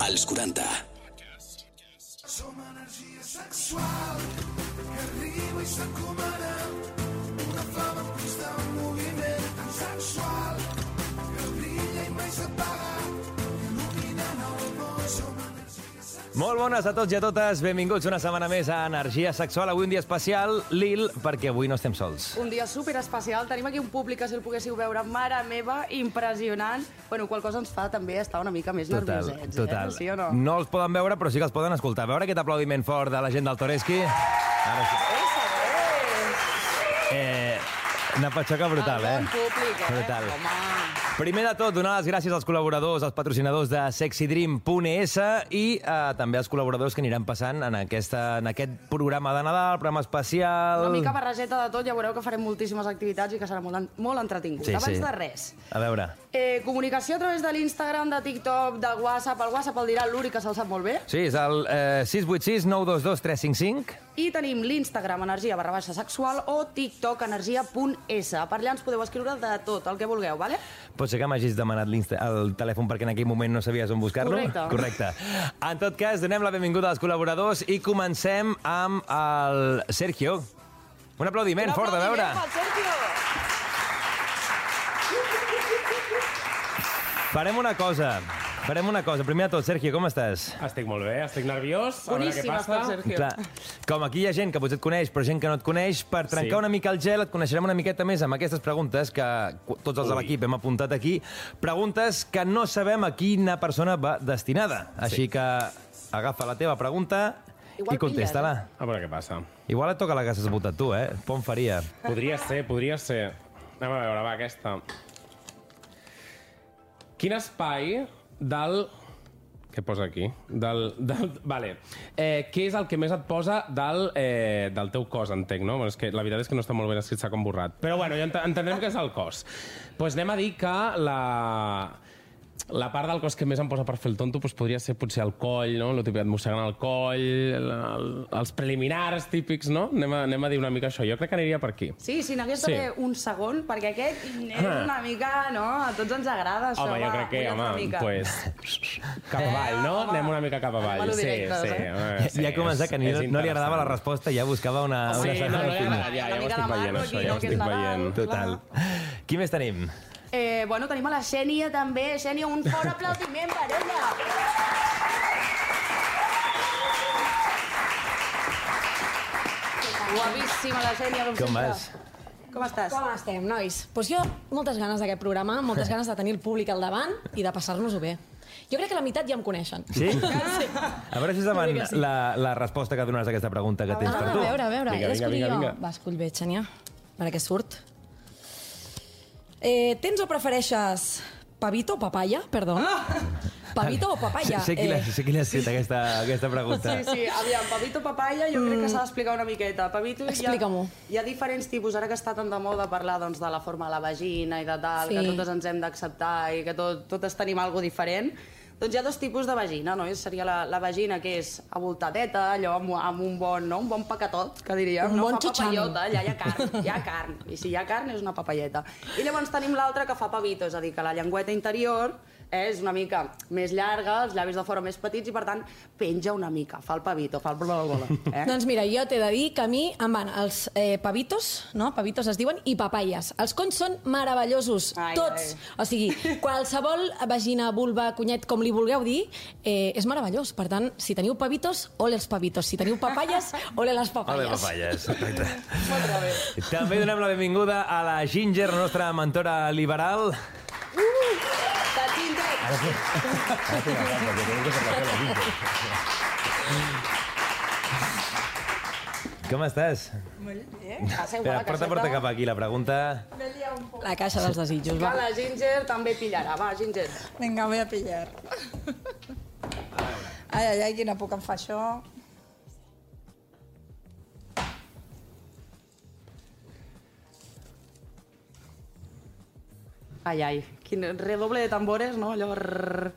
als 40. Som energia sexual que arriba i s'encomana una flama en constant moviment tan sensual que brilla i mai s'apaga il·luminant el món. Som energia sexual Molt bones a tots i a totes, benvinguts una setmana més a Energia Sexual. Avui un dia especial, Lil, perquè avui no estem sols. Un dia super especial. Tenim aquí un públic que si el poguéssiu veure, mare meva, impressionant. Bueno, qual cosa ens fa també estar una mica més nerviosets, total. Mm, eh? Sí o no? no els poden veure, però sí que els poden escoltar. A veure aquest aplaudiment fort de la gent del Toreski. Ara sí. Eh, una patxoca brutal, el bon eh? públic, eh? Brutal. Home, Primer de tot, donar les gràcies als col·laboradors, als patrocinadors de sexydream.es i eh, també als col·laboradors que aniran passant en, aquesta, en aquest programa de Nadal, programa especial... una mica barrageta de tot, ja veureu que farem moltíssimes activitats i que serà molt, en- molt entretingut. Abans de res, A veure... eh, comunicació a través de l'Instagram, de TikTok, de WhatsApp. El WhatsApp el dirà l'Uri, que se'l sap molt bé. Sí, és el eh, 686 922 355. I tenim l'Instagram energia barra baixa sexual o tiktok energia.s. Per allà ens podeu escriure de tot, el que vulgueu, vale? Pot ser que m'hagis demanat l'insta- el telèfon perquè en aquell moment no sabies on buscar-lo? Correcte. Correcte. En tot cas, donem la benvinguda als col·laboradors i comencem amb el Sergio. Un aplaudiment, fort, de veure. Farem una cosa. Farem una cosa. Primer de tot, Sergio, com estàs? Estic molt bé, estic nerviós. a veure Boníssim, què passa. està, Sergio. Clar, com aquí hi ha gent que potser et coneix, però gent que no et coneix, per trencar Sí. una mica el gel et coneixerem una miqueta més amb aquestes preguntes que qu- tots els de Ui. l'equip hem apuntat aquí. Preguntes que no sabem a quina persona va destinada. Així que agafa la teva pregunta Igual i contesta-la. A veure què passa. Igual et toca la que has votat tu, eh? Pon faria. Podria ser, podria ser. Anem a veure, va, aquesta. Quin espai del... Què posa aquí? Del, del, vale. Eh, què és el que més et posa del, eh, del teu cos, entenc, no? Bueno, és que la veritat és que no està molt ben escrit, s'ha com borrat. Però bueno, ja ent entendrem que és el cos. Doncs pues anem a dir que la... La part del cos que més em posa per fer el tonto doncs podria ser potser el coll, no? El típic et mossegant el coll, el, el, els preliminars típics, no? Anem a, anem a dir una mica això. Jo crec que aniria per aquí. Sí, si n'hagués Sí. Ah. d'haver un segon, perquè aquest és una mica, no? A tots ens agrada això, Home, va, jo crec que, mulla't una home, mica. pues, cap Eh, avall, no? home. Anem una mica cap Anem a avall. lo Sí, directe, sí, eh? home, sí. ja comença és- que ni, és no li agradava la interessant. resposta, ja buscava una... una Sí, no, certa no li fina. agrada, ja, ja Una ho mica estic de mar, veient, no? això, Aquí, ja ho que és estic Nadal. veient. Total. Qui més tenim? Eh, bueno, tenim a la Xènia, també. Xènia, un fort aplaudiment per ella. Guapíssima, la Xènia. com Com sempre. vas? Com estàs? Com estem, nois? Doncs pues jo, moltes ganes d'aquest programa, moltes ganes de tenir el públic al davant i de passar-nos-ho bé. Jo crec que la meitat ja em coneixen. Sí? A veure si és davant Jo crec Ah. que sí. la, la resposta que donaràs a aquesta pregunta que tens Ah, per a tu. veure, a veure. Vinga, he vinga, d'escollir vinga, jo. vinga. Va, escull bé, Xenia. A veure què surt. Eh, tens o prefereixes pavito o papaya? Perdó. Ah. Pavito o papaya? Eh, Sé, sé qui l'ha sé qui l'ha escrit, aquesta, aquesta pregunta. Sí, sí, aviam, Pavito Papaya jo crec que s'ha d'explicar una miqueta. Pavito hi ha- Explica-m'ho. Hi ha diferents tipus, ara que està tan de moda parlar doncs, de la forma de la vagina i de tal, Sí. que totes ens hem d'acceptar i que tot, totes tenim alguna diferent, doncs hi ha dos tipus de vagina, no? Seria la, la vagina que és avoltadeta, allò amb, amb un bon, no? un bon pacatot, que diríem, Un no? bon fa xutxano. papallota, allà hi ha carn, hi ha carn. I si hi ha carn és una papalleta. I llavors tenim l'altra que fa pavito, és a dir, que la llengüeta interior eh, és una mica més llarga, els llavis de fora més petits i, per tant, penja una mica, fa el pavito, fa el bla, bla, bla. Eh? Doncs mira, jo t'he de dir que a mi em van els eh, pavitos, no? Pavitos es diuen, i papayes. Els cons són meravellosos, Ai, tots. O sigui, qualsevol vagina, vulva, cunyet, com li vulgueu dir, eh, és meravellós. Per tant, si teniu pavitos, ole els pavitos. Si teniu papayes, ole les papayes. Ole, papalles. Exacte. També donem la benvinguda a la Ginger, la nostra mentora liberal. Uh, Com estàs? Passeu a Espera, la porta, caseta, porta cap aquí la pregunta. La caixa dels desitjos, que va. la Ginger també pillarà, va, Ginger. Vinga, voy a pillar. Ai, ai, ai, quina por que em fa això. Ai, ai, quin redoble de tambores, no? Allò... rrrr.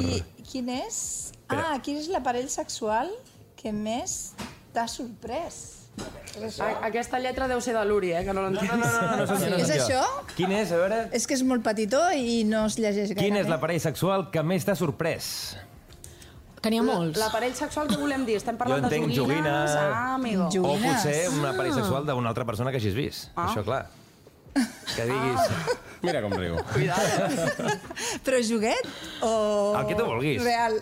I quin és... Ah, quin és l'aparell sexual que més t'ha sorprès? A- Aquesta lletra deu ser de l'Uri, eh, que no l'entens. No, no, no, Sí, és això? Quin és, a veure... És que és molt petitó i no es llegeix gaire eh? Quin és bé. l'aparell sexual que més t'ha sorprès? Que n'hi ha molts. L'aparell sexual que volem dir? Estem parlant Jo entenc de joguines. joguines. Ah, amigo. Jo- O Joguines. potser un aparell sexual d'una altra persona que hagis vist. Ah. Això, clar. Que diguis... Mira com riu. Però joguet o... El que tu vulguis. Real.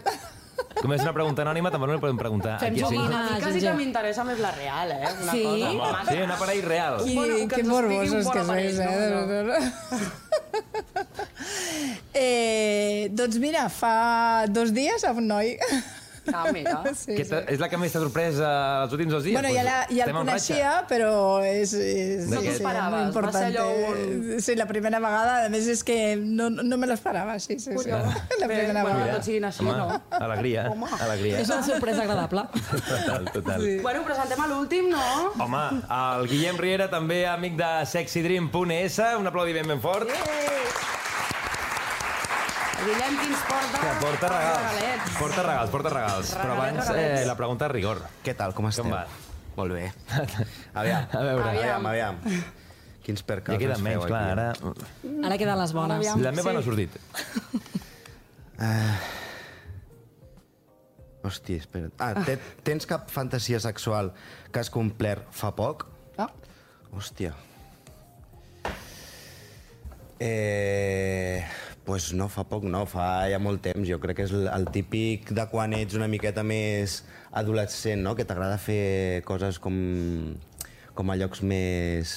Com és una pregunta anònima, també no li podem preguntar. Fem Aquí sí. joguines. A mi quasi Ginger. que m'interessa més la real, eh? Una Sí? cosa. Home, Sí, un aparell real. Un Qui, bon- que que ens expliqui un morbosos bon que aparell, sois, eh? no, no. de veritat. eh, doncs mira, fa dos dies a un noi... Ah, mira. Sí, Que sí. t'ha- és la que més t'ha sorprès eh, els últims dos dies? Doncs Bueno, ja, la, ja el Estem en ratxa. coneixia, però és... és No t'ho és esperaves, molt va important. ser eh, allò Sí, la primera vegada, a més és que no, no me l'esperava, sí, sí, sí. Collons. La Bé, primera bueno, vegada. tot siguin així, Home, no? alegria, alegria. És una sorpresa agradable. Total, total. Bueno, presentem a l'últim, no? Home, el Guillem Riera també amic de sexydream.es. Un aplaudiment ben fort. Guillem, qui ens porta... Que porta regals. regalets. Porta regals, porta regals. Però abans eh, la pregunta de rigor. Què tal, com esteu? va? Molt bé. Aviam, A veure. aviam, aviam. Quins Ja percals queda ens menys, feu clar, ara... aquí. eh? Ara queden les bones. Aviam. La meva no ha sortit. Hòstia, espera't. Ah, te, tens cap fantasia sexual que has complert fa poc? No? Hòstia. Eh, pues no, fa poc no, fa ja molt temps. Jo crec que és el, el típic de quan ets una miqueta més adolescent, no? Que t'agrada fer coses com, com a llocs més...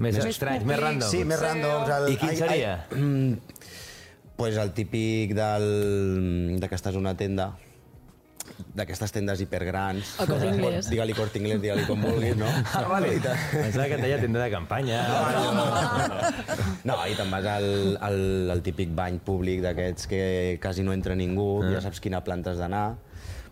Més estranys, més random. Sí, més randoms. El, I quin ai, seria? Ai, mm, pues el típic del, de que estàs a una tenda d'aquestes tendes hipergrans. El Corte Inglés. Digue-li Corte Inglés, digue-li com vulguis, no? Ah, vale. Pensava que et deia tenda de campanya. No, i te'n vas al, al, al típic bany públic d'aquests que quasi no entra ningú, Ah. ja saps quina planta has d'anar.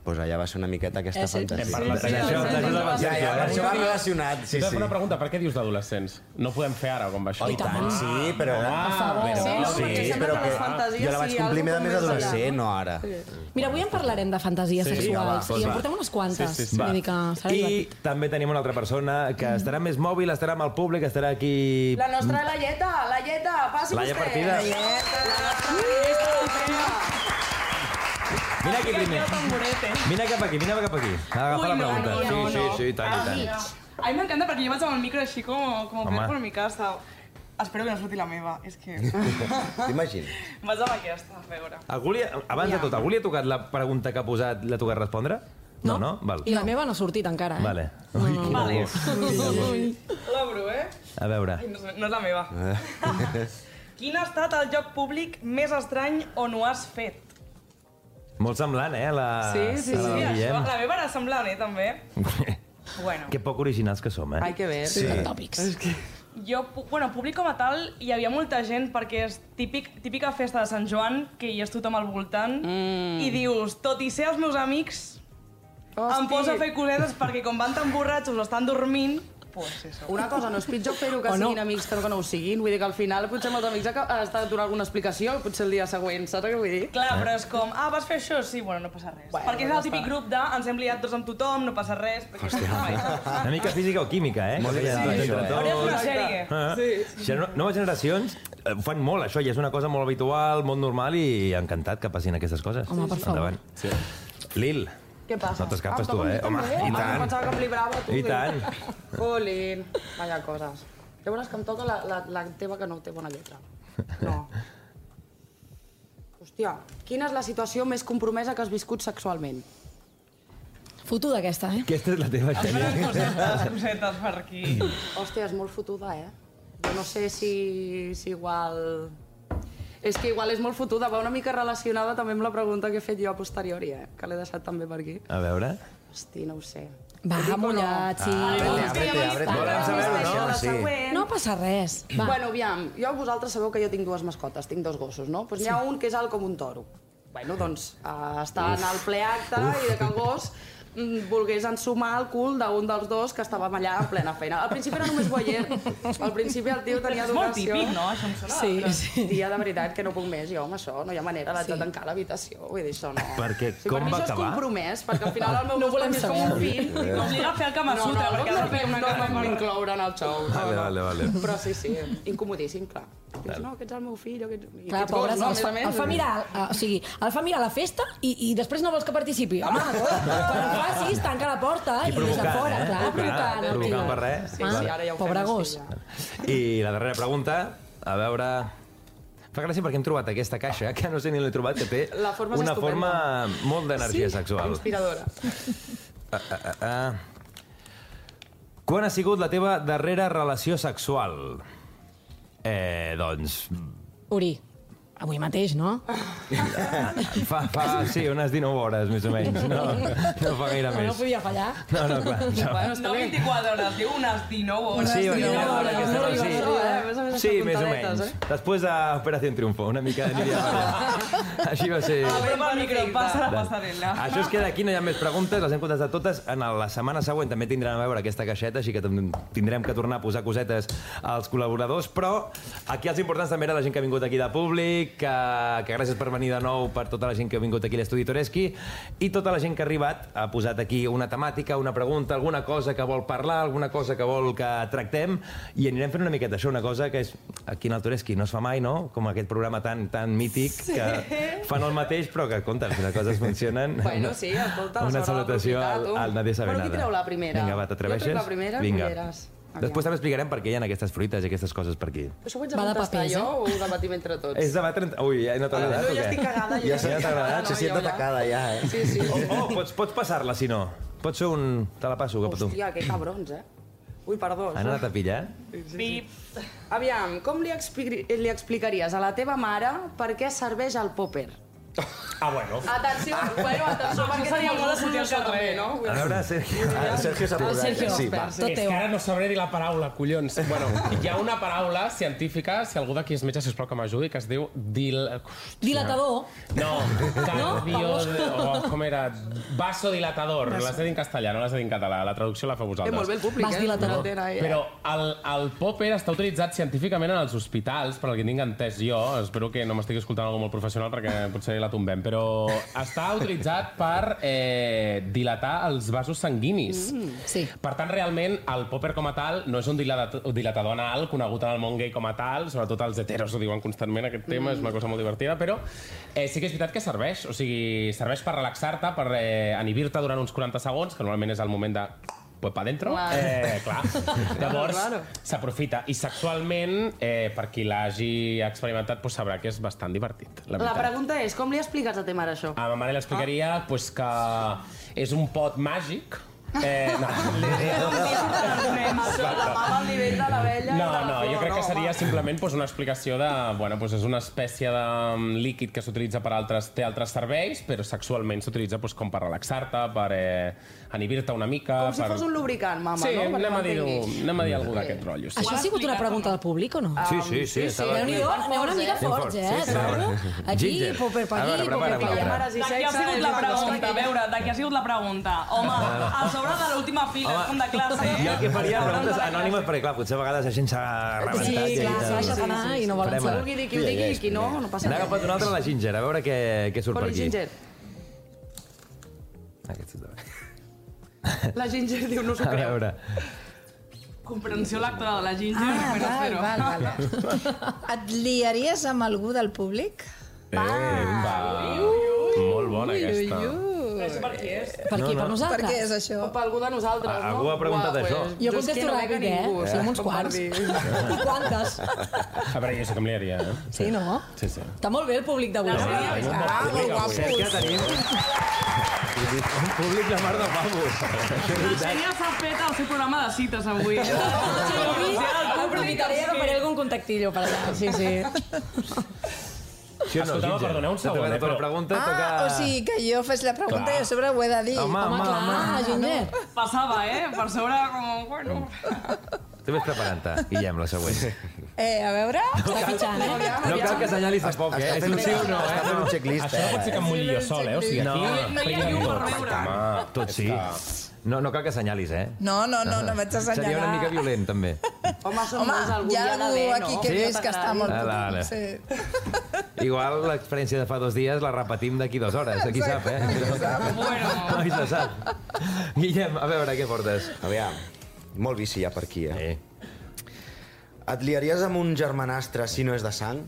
Doncs allà va ser una miqueta aquesta Eh, sí. fantasia. Hem parlat Sí, d'això, sí, d'això sí. de la Ja, ja, Sergio, per eh? això va relacionat, sí, Sí, sí. sí. Una pregunta, per què dius d'adolescents? No podem fer ara com va això. Oh, i tant, sí, però... Per favor. Sí, no, Sí, perquè sembla però que que les fantasies jo la vaig sí, complir més algo més com més adolescent, no ara. Mira, avui en parlarem de fantasies Sí, sexuals. va, I en va. portem unes Sí, quantes. sí, sí. doncs Una mica... Serà I divertit. també tenim una altra persona que estarà més mòbil, estarà amb el públic, estarà aquí... La nostra Laieta, Laieta, passi Laia vostè. Partida. Laieta, la nostra periodista de Pere. Mira aquí primer. Mira cap aquí, mira cap aquí. Agafa la pregunta. no, no, Sí, sí, sí, i tant, i tant. A mi m'encanta perquè jo vaig amb el micro així com, com Home. per mi casa. Espero que no surti la meva, és que... T'imagines? Vas amb aquesta, a veure. Algú li, abans de tot, algú li ha tocat la pregunta que ha posat, l'ha tocat respondre? No, no? Val. I la meva no ha sortit encara, eh? Vale. Ui, quina por. L'obro, eh? A veure. Ai, no, és- no és la meva. Quin ha estat el lloc públic més estrany on ho has fet? Molt semblant, eh, a la, a la del això, Guillem. la meva era semblant, eh, també. Bueno, que poc originals que som, eh? Ai, que bé. Sí. Tòpics. jo, pu- bueno, públic com a tal, hi havia molta gent perquè és típic, típica festa de Sant Joan, que hi és tothom al voltant, mm. i dius, tot i ser els meus amics, Hosti. Em poso a fer cosetes perquè com van tan borratxos o estan dormint, pues eso. Una cosa, no és pitjor fer-ho que O no. siguin amics que no que no ho siguin. Vull dir que al final potser amb els amics ha ha estat donar alguna explicació, potser el dia següent, saps què vull dir? Clar, però és com, ah, vas fer això? Sí, bueno, no passa Bueno, res. Bueno, perquè és ja el típic està. grup de ens hem liat tots amb tothom, no passa res. Perquè... Hòstia. Una mica física o química, eh? Molt Que interessant, entre això, eh? tots. Hauria de fer una sèrie. Ah, gener- Noves generacions eh, ho fan molt, això, i és una cosa molt habitual, molt normal, i encantat que passin aquestes coses. Home, per favor. Endavant. Sí. Lil, Què passa? No t'escapes Ah, tu, toca a mi eh? Home, també? i Ah, tant. jo pensava que em librava, tu. I tant. Jolín, vaya coses. Llavors que em toca la, la, la teva que no té bona lletra. No. Hòstia, quina és la situació més compromesa que has viscut sexualment? Fotuda aquesta, eh? aquesta és la teva Però Xènia. cosetes, cosetes per aquí. Hòstia, és molt fotuda, eh? Jo no sé si, si igual... És que igual és molt fotuda, va una mica relacionada també amb la pregunta que he fet jo a posteriori, eh? Que l'he deixat també per aquí. A veure... Hosti, no ho eh? sé. Va, mullat, sí. Abre-te, abre-te. Volem saber-ho, no? no? Sí. No passa res. Va. Bueno, aviam, jo vosaltres sabeu que jo tinc dues mascotes, tinc dos gossos, no? Doncs n'hi ha un que és alt com un toro. Bueno, doncs eh, està en el ple acte i de que el gos mm, volgués ensumar el cul d'un dels dos que estàvem allà en plena feina. Al principi era només voyer. Al principi el tio tenia És molt donació. típic, no? Això em sona. Sí, Que- sí. Dia de veritat que no puc més, jo, amb això. No hi ha manera, l'haig de Sí. tancar l'habitació. Vull dir, això no... Perquè sí, com per mi va això acabar? és compromès, perquè al final el meu No gos volem també és com saber. un fill. No obliga a fer el Kama No, Sutra, no, perquè no, ara feia no, una no, cara no, per incloure en el xou. Vale, vale, vale. Però sí, sí, incomodíssim, clar. Dius, no, que ets el meu fill, o que ets... I Clar, ets pobres, no? els, fa, el fa mirar, eh, o sigui, el fa mirar a la festa i, i després no vols que participi. Home, quan ho facis, tanca la porta i, I i des de provocant, fora. eh? Clar, Clar, provocant. el provocant tio. per res. Sí, Ah, sí, ara ja ho fem pobre així, gos. ja. I la darrera pregunta, a veure... Fa gràcia perquè hem trobat aquesta caixa, que no sé ni l'he trobat, que té La forma és una estupenda. forma molt d'energia sexual. Inspiradora. Ah. Quan ha sigut la teva darrera relació sexual? Eh, doncs... Uri, avui mateix, no? Fa, fa, sí, unes 19 hores, més o menys. No, no fa gaire No, no més. podia fallar. No, no, clar. Això. No 24 hores, diu unes 19 hores. Sí, no, una no, mica no, d'hora no, aquesta no, hora, no, sí. no, no, eh? A més a més, Sí, estan més o puntadetes, menys. eh? Després d'Operació Triunfo, una mica de Lídia Vallès. Així va ser... Apropa el micro, passa la passarel·la. Això es queda aquí, no hi ha més preguntes, les hem contestat totes. En la setmana següent també tindran a veure aquesta caixeta, així que tam- tindrem que tornar a posar cosetes als col·laboradors, però aquí els importants també era la gent que ha vingut aquí de públic, que, que gràcies per venir de nou per tota la gent que ha vingut aquí a l'estudi Toreski, i tota la gent que ha arribat ha posat aquí una temàtica, una pregunta, alguna cosa que vol parlar, alguna cosa que vol que tractem, i anirem fent una miqueta això, una cosa que és aquí en el Toreski no es fa mai, no? Com aquest programa tan, tan mític que fan el mateix, però que, compte, si les coses funcionen... Bueno, sí, escolta, Una s'haurà salutació d'aprofitar, al, tu. al Nadia Sabenada. Bueno, qui treu la primera? Vinga, va, Jo t'atreveixes? trec la primera, Vinga. culleres. Aviam. Després també explicarem per què hi ha aquestes fruites i aquestes coses per aquí. Això ho haig de Va de contestar papers, jo eh? o ho debatim entre tots? És debat... 30... Ui, ja no t'ha Vale, agradat, Ah, no, o ja què? estic cagada. Ja estic s'ha cagada, agradat, se no, sent jo ja. atacada ja, eh? Sí, sí. Oh, oh, pots, pots passar-la, si no. Pots fer un... Te la passo cap a tu. Hòstia, que cabrons, eh? Ui, perdó. Han anat a pillar? eh? Pip. Aviam, com li, expli li explicaries a la teva mare per què serveix el popper? Ah, bueno. Atenció, bueno, atenció, perquè seria seria molt molt de sortir al assotiat al carrer, carrer, no? A veure, Ah, Sergi... Ah, El Sergio s'ha posat. Sergio, sí, va. tot és teu. que ara no sabré ni la paraula, collons. Bueno, hi ha una paraula científica, si algú d'aquí és metge, sisplau, que m'ajudi, que es diu dil... Hòstia. Dilatador. No, cardio... Oh, com era? Vasodilatador. L'has dit en castellà, no l'has dit en català. La traducció la fa Eh, vosaltres. molt bé el públic, Vas eh? dilatant. No tenen, eh? Però el, el popper està utilitzat científicament en els hospitals, per el que tinc entès jo, espero que no m'estigui escoltant algú molt professional perquè potser la tombem, però està utilitzat per eh, dilatar els vasos sanguinis. Mm. Sí. Per tant, realment, el popper com a tal no és un dilatat- dilatador anal conegut en el món gay com a tal, sobretot els heteros ho diuen constantment, aquest tema, és una Mm. cosa molt divertida, però eh, sí que és veritat que serveix, o sigui, serveix per relaxar-te, per eh, inhibir-te durant uns 40 segons, que normalment és el moment de pues pa dentro. Clar. Eh, clar. claro. Llavors, s'aprofita. I sexualment, eh, per qui l'hagi experimentat, pues, sabrà que és bastant divertit. La, La veritat. pregunta és, com li expliques a ta mare això? A ma mare l'explicaria ah. pues, que és un pot màgic. Eh, no, Això de la mama al nivell de l'abella i de no, la no, flor, jo crec que no, seria home. simplement pues, una explicació de... Bueno, pues, és una espècie de mm, líquid que s'utilitza per altres... té altres serveis, però sexualment s'utilitza pues, com per relaxar-te, per eh, inhibir-te una mica... Com si per... fos un lubricant, mama, Sí, no? Perquè anem a dir, m'entenguis. anem a dir alguna d'aquest rotllo. Sí. Això ha sigut una pregunta del públic o no? Sí, sí, sí. estava- Déu-n'hi-do, aneu una mica Ben forts, fort, eh? sí, sí. Trobo. Aquí, Ginger. popper per A veure, aquí, popper prepara una per allà. altra. Mares i De qui ha sexe sigut és la una cosa pregunta? A que- veure, de qui ha sigut la pregunta? Home, a sobre de l'última fila, és com de classe. eh? Jo el que faria A sobre preguntes de la anònimes, perquè clar, potser a vegades la gent s'ha Sí, rebentat. i clar, tal. s'ha deixat anar i no volen Farem saber. ara. Vulgui dir qui ho digui i qui no, no passa N'ha agafat res. una altra la Ginger, a veure què, què surt per Però i aquí. Ginger? Aquest és davant. La Ginger diu, no s'ho A creu. veure, classe. Comprensió lectora de la Ginger, Ah, però val, espero. val, val. Et liaries amb algú del públic? Molt bona aquesta. No sé per qui és. Per aquí, per Ah, Per què és nosaltres. això? O per algú de nosaltres, A- no? Ah, algú ha preguntat Uah, això. pues, Jo és Doncs que contesto no veig a ràpid, eh? ningú, Sí, amb uns com per quants. dir. I quantes? A veure, jo sé que em liaria, eh? Sí, no? Sí, sí. Està molt bé el públic d'avui. eh? Sí. Ah, Bravo, guapos. que tenim... Un públic la mar de pavos. La Xènia s'ha fet el seu programa de cites avui. Avui aprofitaré de faré algun contactillo per allà. Sí, sí. Sí, o no, Escolteu, Ginger? perdoneu un Ja t'ha segon, acabat eh, però- La pregunta toca... Ah, o sigui que jo fes la pregunta i a sobre ho he de dir. Home, Home, home, clar, home. Ginger. Passava, eh? Per sobre, com... Bueno, Tu vés preparant-te, Guillem, la següent. Eh, a veure... Està fitxant, eh? No cal que assenyalis tampoc, eh? És un sí o no, Està eh? fent un checklist, Això no pot ser que eh? em mulli jo sol, eh? O sigui, No. aquí... no hi ha llum per veure. Home, tot sí. No, no cal que assenyalis, eh? No, no, no, no vaig assenyalar. Seria una mica violent, també. Home, som Home, molts, algú hi ha hi ha algú d'haver, aquí no? que Sí? Ah, veus que està molt Ara, ara. potent. Sí. Igual l'experiència de fa dos dies la repetim d'aquí dues hores, aquí sap, eh? bueno. No, se sap. Guillem, a veure què portes. Aviam, molt vici ja per aquí, eh? Eh. Et liaries amb un germanastre si no és de sang?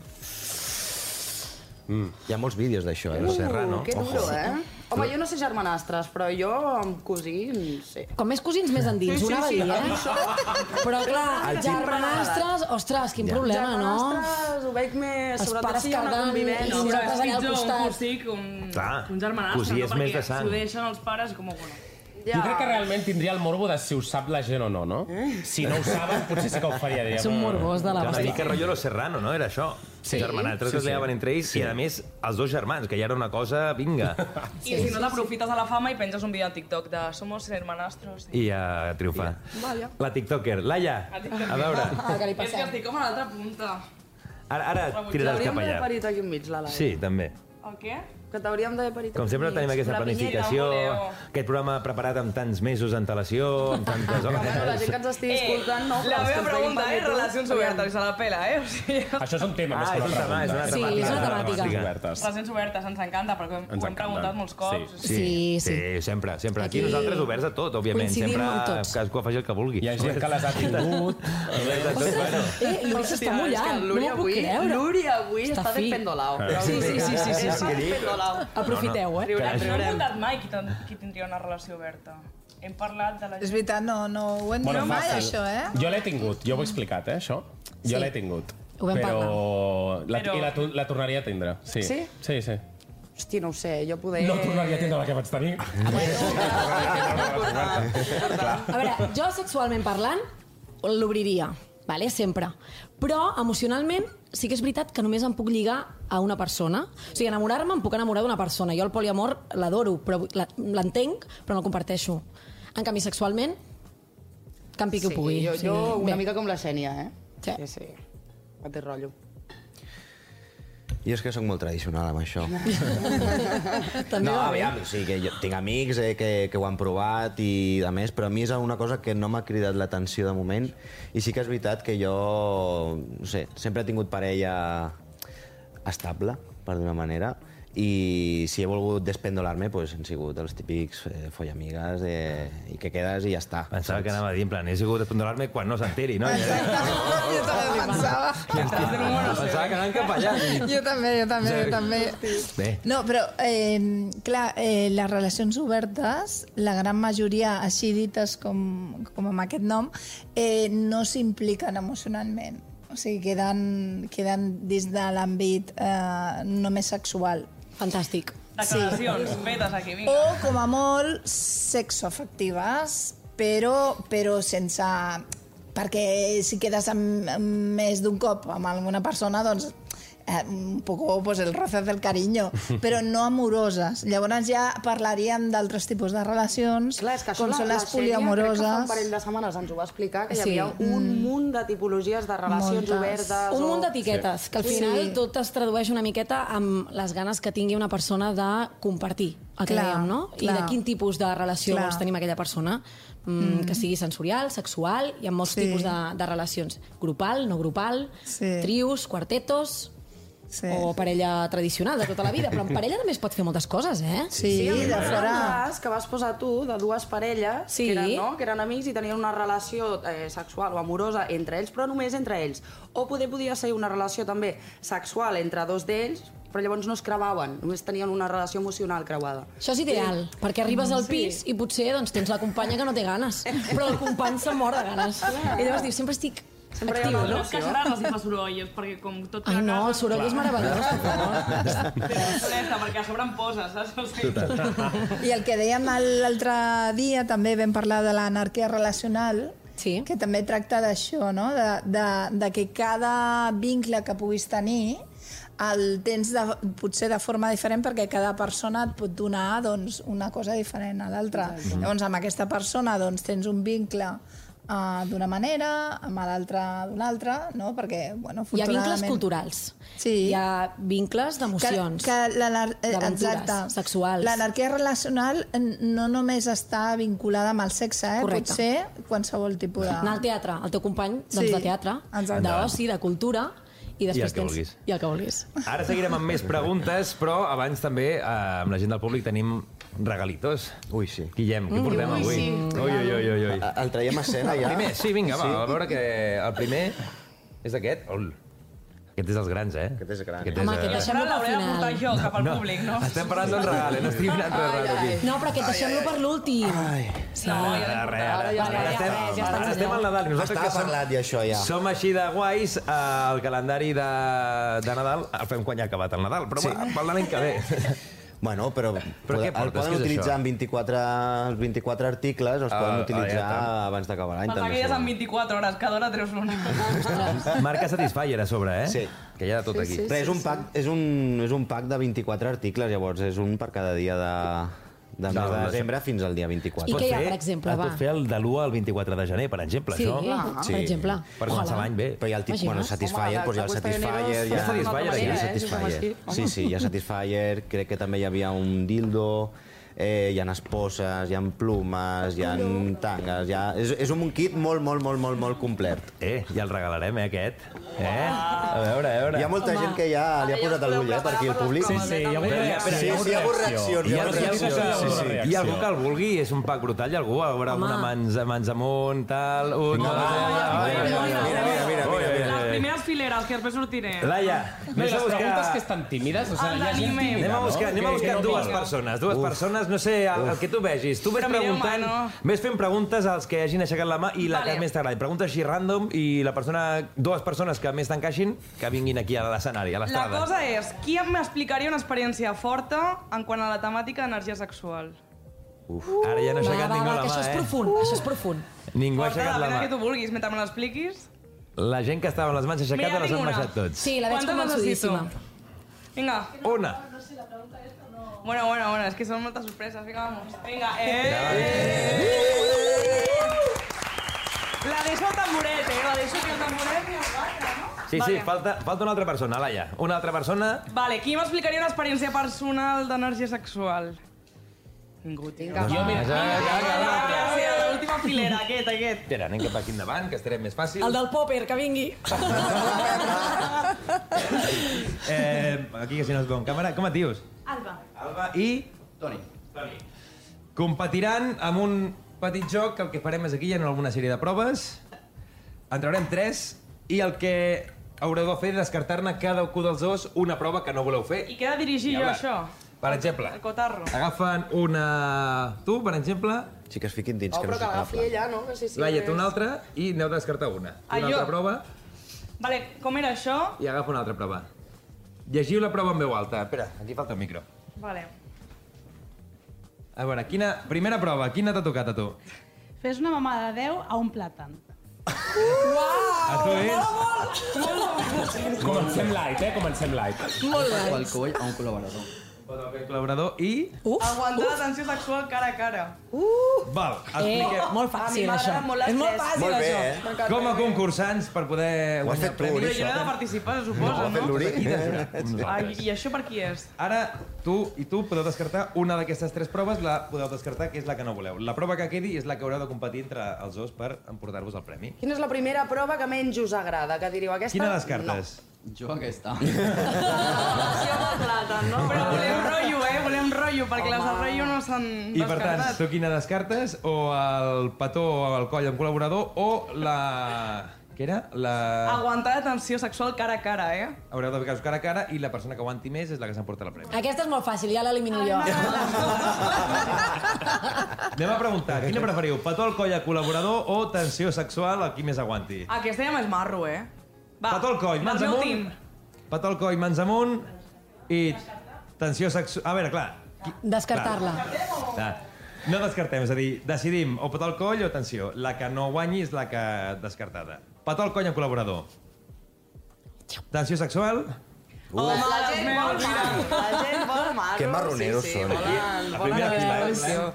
Mm. Hi ha molts vídeos d'això, eh? Uh, Serra, no? Que duro, eh? Home, jo no sé germanastres, però jo amb cosins, sí. Com més cosins, més endins, Sí, sí, una sí, va a mi dir, eh? Però clar, El xip germanastres, ostres, quin problema, no? Germanastres, ho veig més... Els Sobretot pares si hi ha una quedant i convivència. nosaltres allà al pitjor un costat. cosí que un, Clar, que un germanastre, cosí és no? més de Perquè sang. s'ho deixen els pares com a bueno. Jo crec que realment tindria el morbo de si ho sap la gent o no, no? Si no ho saben, potser sí que ho faria. Diria, És un morbós de Ah, la Una bastida. mica rotllo Los Serrano, no? Era això. Sí. Germanastres sí, sí. que es liaven entre ells sí. i, a més, els dos germans, que ja era una cosa... Vinga. I si no t'aprofites de la fama i penges un vídeo a TikTok de Somos hermanastros. I a triomfar. Vaja. La tiktoker. Laia, a veure. Ah, que li És que passem. estic com a l'altra punta. Ara, ara tiraràs T'hauríem cap d'haver allà. parit aquí enmig, la Laia. Sí, també. El què? Que t'hauríem d'haver parit Com aquí Doncs sempre enmig. tenim aquesta la pinyera, planificació, voleu. aquest programa preparat amb tants mesos d'antelació, amb tantes Bueno, la hores... gent que ens estigui escoltant, eh, no? Eh, la meva pregunta és relacions obertes, i se la pela, eh? O sigui, Això és un tema més Ah, que és un tema, és una pregunta. eh? Sí, temàtica. és una temàtica. Relacions obertes. relacions obertes, ens encanta, perquè ho Ens hem encanta. preguntat molts cops. Sí. Sí. Sí, sí. sí, sempre, sempre. Aquí, Aquí nosaltres oberts a tot, òbviament. coincidim Sempre amb tots. cadascú faci el que vulgui. Hi ha gent que les ha tingut. Oberts a tot, bueno. Eh, l'Uri s'està mullant, no m'ho puc avui, creure. L'Uri avui Està està, fi. despendolao. Sí, sí, sí, sí, sí, Està despendolao. Aprofiteu, eh? Riurem, No hem riurem. preguntat mai qui, ten- qui tindria una relació oberta. Hem parlat de la És gent... veritat, no, no ho hem dit Bueno, mai, fàcil. això, eh? Jo l'he tingut, jo ho he explicat, eh, això. Jo Sí. l'he tingut. Ho vam però... La, Però- I la, tu- la tornaria a tindre, sí. Sí? Sí, sí. Hosti, no ho sé, jo poder... No tornaria a tindre la que vaig tenir. A veure, jo sexualment parlant l'obriria, vale? sempre. Però emocionalment sí que és veritat que només em puc lligar a una persona. O sigui, enamorar-me em puc enamorar d'una persona. Jo el poliamor l'adoro, però la- l'entenc, però no el comparteixo. En canvi, sexualment, campi que Sí, ho pugui. jo, O sigui, jo una bé. mica com la Xènia, eh? Sí. Sí, sí. No té rotllo. I és que sóc molt tradicional amb això. També No, va bé. aviam, sí, que jo tinc amics eh, que, que ho han provat i a més, però a mi és una cosa que no m'ha cridat l'atenció de moment i sí que és veritat que jo, no sé, sempre he tingut parella estable, per d'una manera, i si he volgut despendolar-me, doncs han sigut els típics eh, follamigues eh, i que quedes i ja està. Pensava que anava a dir, en plan, he sigut espondolar-me quan no s'enteri, no? Ja, Jo també pensava. Pensava que anàvem cap allà. Jo també, jo també, jo també. Bé, No, però, eh, clar, eh, les relacions obertes, la gran majoria així dites com, com amb aquest nom, eh, no s'impliquen emocionalment. O sigui, queden, queden dins de l'àmbit eh, només sexual. Fantàstic. Declaracions, fetes aquí, Oh, O, vinga. com a molt, sexoafectives, però, però sense... Perquè si quedes amb, amb més d'un cop amb alguna persona, doncs eh, un poc pues, el roce del carinyo, però no amoroses. Llavors ja parlaríem d'altres tipus de relacions, Clar, és que això com la, són la Xènia, les crec que fa un poliamoroses... parell de setmanes ens ho va explicar, que hi Sí. Mm. havia un munt de tipologies de relacions Moltes. obertes. Un o- munt d'etiquetes, que al final Sí. tot es tradueix una miqueta amb les ganes que tingui una persona de compartir el que Clar, dèiem, no? I clar. de quin tipus de relació Clar. vols tenir amb aquella persona, mm, que sigui sensorial, sexual, hi ha molts Sí. tipus de, de relacions. Grupal, no grupal, Sí. trios, quartetos, Sí. o parella tradicional de tota la vida, però en parella també es pot fer moltes coses, eh? Sí, Sí, de em fora... recordo un cas que vas posar tu de dues parelles Sí. que, eren, no? que eren amics i tenien una relació eh, sexual o amorosa entre ells, però només entre ells. O poder podia ser una relació també sexual entre dos d'ells, però llavors no es creuaven, només tenien una relació emocional creuada. Això és ideal, perquè arribes al pis i potser doncs, tens la companya que no té ganes, però el company se mor de ganes. I llavors dius, sempre estic Sempre hi ha activa, una no? No et queixaràs si fa sorolles, perquè com tot Ai, no, el casa, soroll és meravellós, per favor. Però és honesta, perquè a sobre em poses, saps? O sigui, I el que dèiem l'altre dia, també vam parlar de l'anarquia relacional, Sí. que també tracta d'això, no? De, de, de que cada vincle que puguis tenir el tens de, potser de forma diferent perquè cada persona et pot donar doncs, una cosa diferent a l'altra. Llavors, amb aquesta persona doncs, tens un vincle uh, d'una manera, amb l'altra d'una altra, no? perquè, bueno, Hi ha vincles afortunadament- culturals. Sí. Hi ha vincles d'emocions. Que, que la, eh, d'aventures exacte. sexuals. L'anarquia relacional no només està vinculada amb el sexe, eh? Correcte. Pot ser qualsevol tipus de... Anar al teatre, el teu company doncs, Sí. de teatre, Exacte. d'oci, de cultura, i després que tens... vulguis. I el que vulguis. ara seguirem amb més preguntes, però abans també, eh, amb la gent del públic, tenim regalitos. Ui, sí. Ah. Guillem, què portem avui? Ui, ui, ui, ui, ui. El traiem a escena ja. Primer, sí, vinga, va, a veure que el primer... És aquest? Ol. Aquest és dels grans, eh? Aquest és gran. Aquest és, Home, eh, aquest deixem- Ara Deixem-ho pel l'hauré de portar final. jo cap al públic, no? Estem parlant d'un regal, eh? No estic mirant res raro aquí. No, però aquest deixem-lo per l'últim. Sí. Ara, ara, ara, ja, ara ja, estem- ja, ja ara està estem al Nadal. i Nosaltres Està que som, parlat i això ja. som així de guais, eh, el calendari de, de Nadal el fem quan ja ha acabat el Nadal, però sí. pel de l'any que ve. Bueno, però, Però què el portes? poden Què és utilitzar això? en 24, els 24 articles, els Ah, poden ah, utilitzar ja, tant. abans d'acabar l'any. Per tant, també, que ja és en segur. 24 hores, cada hora treus una. Marca Satisfyer a sobre, eh? Sí. Que hi ha de tot aquí. Però és un, pack, és, un, és un pack de 24 articles, llavors és un per cada dia de, de No, mes de no sé. desembre fins al dia I 24. què hi ha, per exemple, es va? pot fer el de l'1 al 24 de gener, per exemple, Sí, això. per exemple. Per començar l'any bé. Però hi ha el tipus, Imagina't. bueno, Satisfyer, Home, doncs hi ha el Costa Satisfyer, Pioneros hi ha... fa d'una altra hi ha el manera, eh, si som Satisfyer. així. Sí, sí, hi ha Satisfyer, crec que també hi havia un dildo, eh, hi ha esposes, hi ha plumes, hi ha tangues, hi ha... És, és un kit molt, molt, molt, molt, molt complet. Eh, ja el regalarem, eh, aquest. Eh? A veure, a veure. Hi ha molta gent que ja li ha Ara ja posat us el podeu ull, eh, per aquí el preparar per les públic. proves. Sí, hi ha hagut Espera, reacció. Sí, sí, hi ha hagut reaccions. Hi Hi ha ha, hi, hagut ha, reaccions. reacció. Sí, sí. Hi ha hi ha algú que el vulgui, és un pack brutal, hi ha algú, a veure, Home. una mans, mans amunt, tal, un... Vinga, va, dos, va, eh, va, mira, eh, mira, mira, mira, mira, mira. Les primeres fileres, que després sortiré. Laia, No, i anem a les preguntes que buscar... estan tímides, o sigui, El hi ha gent d'anime. tímida, Anem a no? buscar, anem a Que- buscar que no dues vol. persones, dues persones, no sé, el, el que tu vegis. Tu ves Però mireu mà, preguntant, no? ves fent preguntes als que hagin aixecat la mà i la Vale. que més t'agradi. Preguntes així random i la persona, dues persones que més t'encaixin, que vinguin aquí a l'escenari, a La l'estrada. cosa és, qui m'explicaria una experiència forta en quant a la temàtica energia sexual? Ara Uh, ja no ha Va, va, aixecat ningú va, la que mà, això és eh? profund, això és profund. Ningú ha Forta, aixecat la depèn de que tu mà. vulguis, mentre me l'expliquis. La gent que estava amb les mans Mira, aixecades les han ninguna. baixat tots. Sí, la veig Quantes convençudíssima. necessito? Vinga. Una. Bueno, bueno, bueno, és que són moltes sorpreses. Vinga, vamos. Vinga, eh! La deixo al tamboret, eh? La deixo aquí al tamboret i al batre, no? Sí, sí, Vale. falta, falta una altra persona, Laia. Una altra persona... Vale, qui m'explicaria una experiència personal d'energia sexual? Ningú, tinc. Vinga, va. Vinga, vinga, vinga, vinga. Gràcies, l'última filera, aquest, aquest. Espera, anem cap aquí endavant, que estarem més fàcil. El del pòper, que vingui. Eh, aquí, que si no es veu en càmera. Com et dius? Alba. Alba i... Toni. Toni. Competiran amb un petit joc que el que farem és aquí hi ha alguna sèrie de proves. En traurem tres i el que haureu de fer és descartar-ne cada un dels dos una prova que no voleu fer. I queda dirigir jo, Diabla. això. Per exemple, El cotarro. agafen una... Tu, per exemple, Sí que es fiquin dins, Oh, que però no que s'ho l'agafi ella, no? Que sí, sí, Laia que té és- una altra i aneu de descartar una. Ah, una jo? altra prova Vale, com era això? i agafa una altra prova. Llegiu la prova en veu alta. Espera, aquí falta el micro. Vale. A veure, quina... Primera prova, quina t'ha tocat a tu? Fes una mamada de 10 a un plàtan. A tu eh? és... Comencem light, eh? Comencem light. Molt bé. el coll a un col·laborador. Pot el col·laborador i... Uf, Aguantar la tensió sexual cara a cara. Val, eh, expliquem. molt fàcil, això. És molt fàcil, Molt bé, això. eh? Com a concursants per poder Ho has guanyar fet tu, premis. Però Uri, jo no he de participar, se suposa, fet no? l'Uri. Ah, I i això per qui és? Ara, tu i tu podeu descartar una d'aquestes tres proves, la podeu descartar, que és la que no voleu. La prova que quedi és la que haureu de competir entre els dos per emportar-vos el premi. Quina és la primera prova que menys us agrada? Que diríeu aquesta? Quina descartes? Jo aquesta. No. Passió de plàtan, no? Però volem rotllo, eh? Volem rotllo, perquè les de rotllo no s'han I per tant, descartat. tu quina descartes? O el petó o el coll amb col·laborador o la... Què era? La... Aguantar la tensió sexual cara a cara, eh? Haureu de ficar-vos cara a cara i la persona que aguanti més és la que s'emporta el premi. Aquesta és molt fàcil, ja l'elimino jo. Anem a preguntar, quina preferiu? Petó al coll a col·laborador o tensió sexual a qui més aguanti? Aquesta ja més marro, eh? Va, Petó al coll, mans del meu amunt. team. Petó al coll, mans amunt. I tensió sexual... A veure, clar. qui- Descartar-la. clar. No descartem, és a dir, decidim o petó al coll o tensió. La que no guanyi és la que descartada. Petó al coll amb col·laborador. Tensió sexual. La Home, les gent vol meves, mira. mar, la gent vol mar. Que marroneros sí, sí, són, Volen, La volen primera haver fila, eh? relació.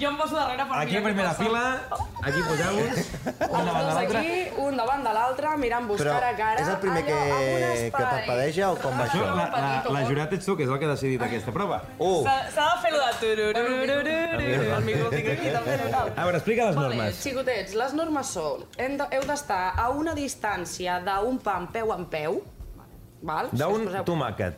Jo em poso darrere per Aquí a mirar primera què passa. fila, aquí poseu-vos. Una Els banda dos l'altra. aquí, un davant de l'altre, mirant-vos Però cara a cara. és el primer que, allò, amb un que espai. parpadeja o com va Això, això? la, la, la jurat ets tu, que és la que ha decidit aquesta prova. Uh, S'ha- S'ha de fer lo de tururururururu. El micro el tinc aquí, també, no cal. A veure, explica les Vale, normes. xicotets, les normes són... hem de- Heu d'estar a una distància d'un pam peu en peu, val? Si us D'un poseu- tomàquet.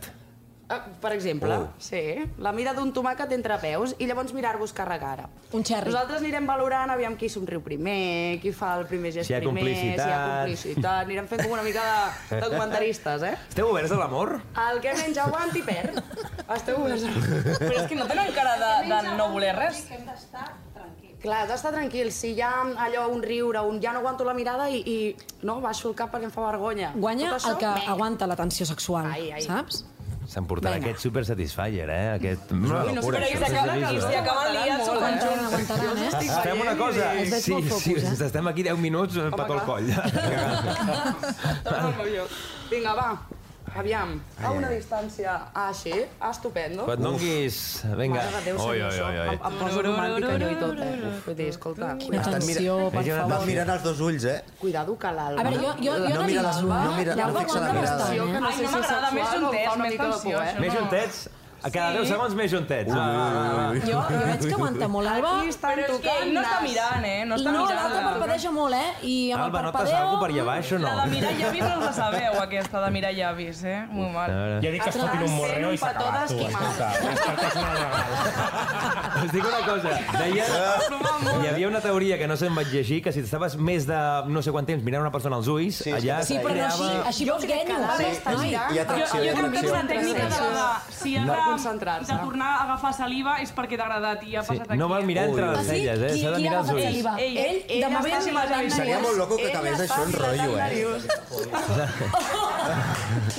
Eh, Per exemple, Oh. sí, la mida d'un tomàquet entre peus i llavors mirar-vos cara a cara. Un xerri. Nosaltres anirem valorant, aviam qui somriu primer, qui fa el primer gest Si hi ha primer, si hi ha complicitat. complicitat. Anirem fent com una mica de, de comentaristes, eh? Esteu oberts a l'amor? El que menys aguanti perd. Esteu oberts. a- Però és que no tenen cara de, de no voler res. Hem d'estar tranquils. Clar, has d'estar tranquil. Si hi ha allò, un riure, un ja no aguanto la mirada i, i no, baixo el cap perquè em fa vergonya. Guanya Tot això, el que meh. aguanta la tensió sexual, Ai, ai. saps? S'han portat Vinga. aquest super satisfier, eh? Aquest... Ui, no sé per què Si acaba, s'acaba si acaba liant, s'ho Aguantaran, Eh, aguantaran, eh? Ah, Fem una cosa. Els veig Sí, molt focus, sí, eh? si estem aquí 10 minuts, eh, petó al clar. coll. Torna al meu lloc. Vinga, va. Aviam. A una distància. Ah, sí? Ah, estupendo. Però et no enguis... Vinga. Mare de Déu, Oi, senyor, oi, això oi, oi. Em, em poso romàntica jo i tot, eh? Uf, vull dir, escolta, Quina cuidado, tensió, per Veig una- Vas favor. mirant els dos ulls, eh? cuidado que l'alba... A veure, jo, jo, jo No no mira les- l'Alba, no mira- no l'Alba fixa la aguanta mirada. bastant, eh? Ai, no m'agrada, més juntets, més tensió, eh? això. Més No. juntets? A cada Sí. 10 segons, més juntets. Va, va, va, va. Jo, jo veig que aguanta molt l'Alba. Aquí estan Però és que tocant ell no està nas. mirant, eh? No No, està mirant. l'altra parpadeja molt, eh? I amb Alba, el notes alguna per parpadeo... allà baix o no? La de mirar llavis no us la sabeu, aquesta de mirar llavis, eh? Molt mal. Ja dic que es fotin un morreo i s'ha Atrás, acabat, tu. eh, sent un petó escolta. Escolta, és una legal. Us dic una cosa. Deia... Ah. Hi havia una teoria que no se'n vaig llegir, que si t'estaves més de no sé quant temps mirant una persona als ulls, Sí, sí, allà... que Sí, però no així, eh, així veus que guenyo. l'alba està Ai, mirant. Hi ha Jo, atracció, hi jo ha crec que atracció. és una tècnica de, la de si has No. de- Concentrar-se. de tornar a agafar saliva és perquè t'ha agradat i ha Sí, passat aquí. eh? no val mirar entre Ui. les celles, eh? Ah, qui, S'ha de qui mirar ha els agafat ulls. saliva? Ell, Ell, ell de està moment, així amb els ulls. Seria molt loco que Ella acabés està això en mirant rotllo, eh? narius.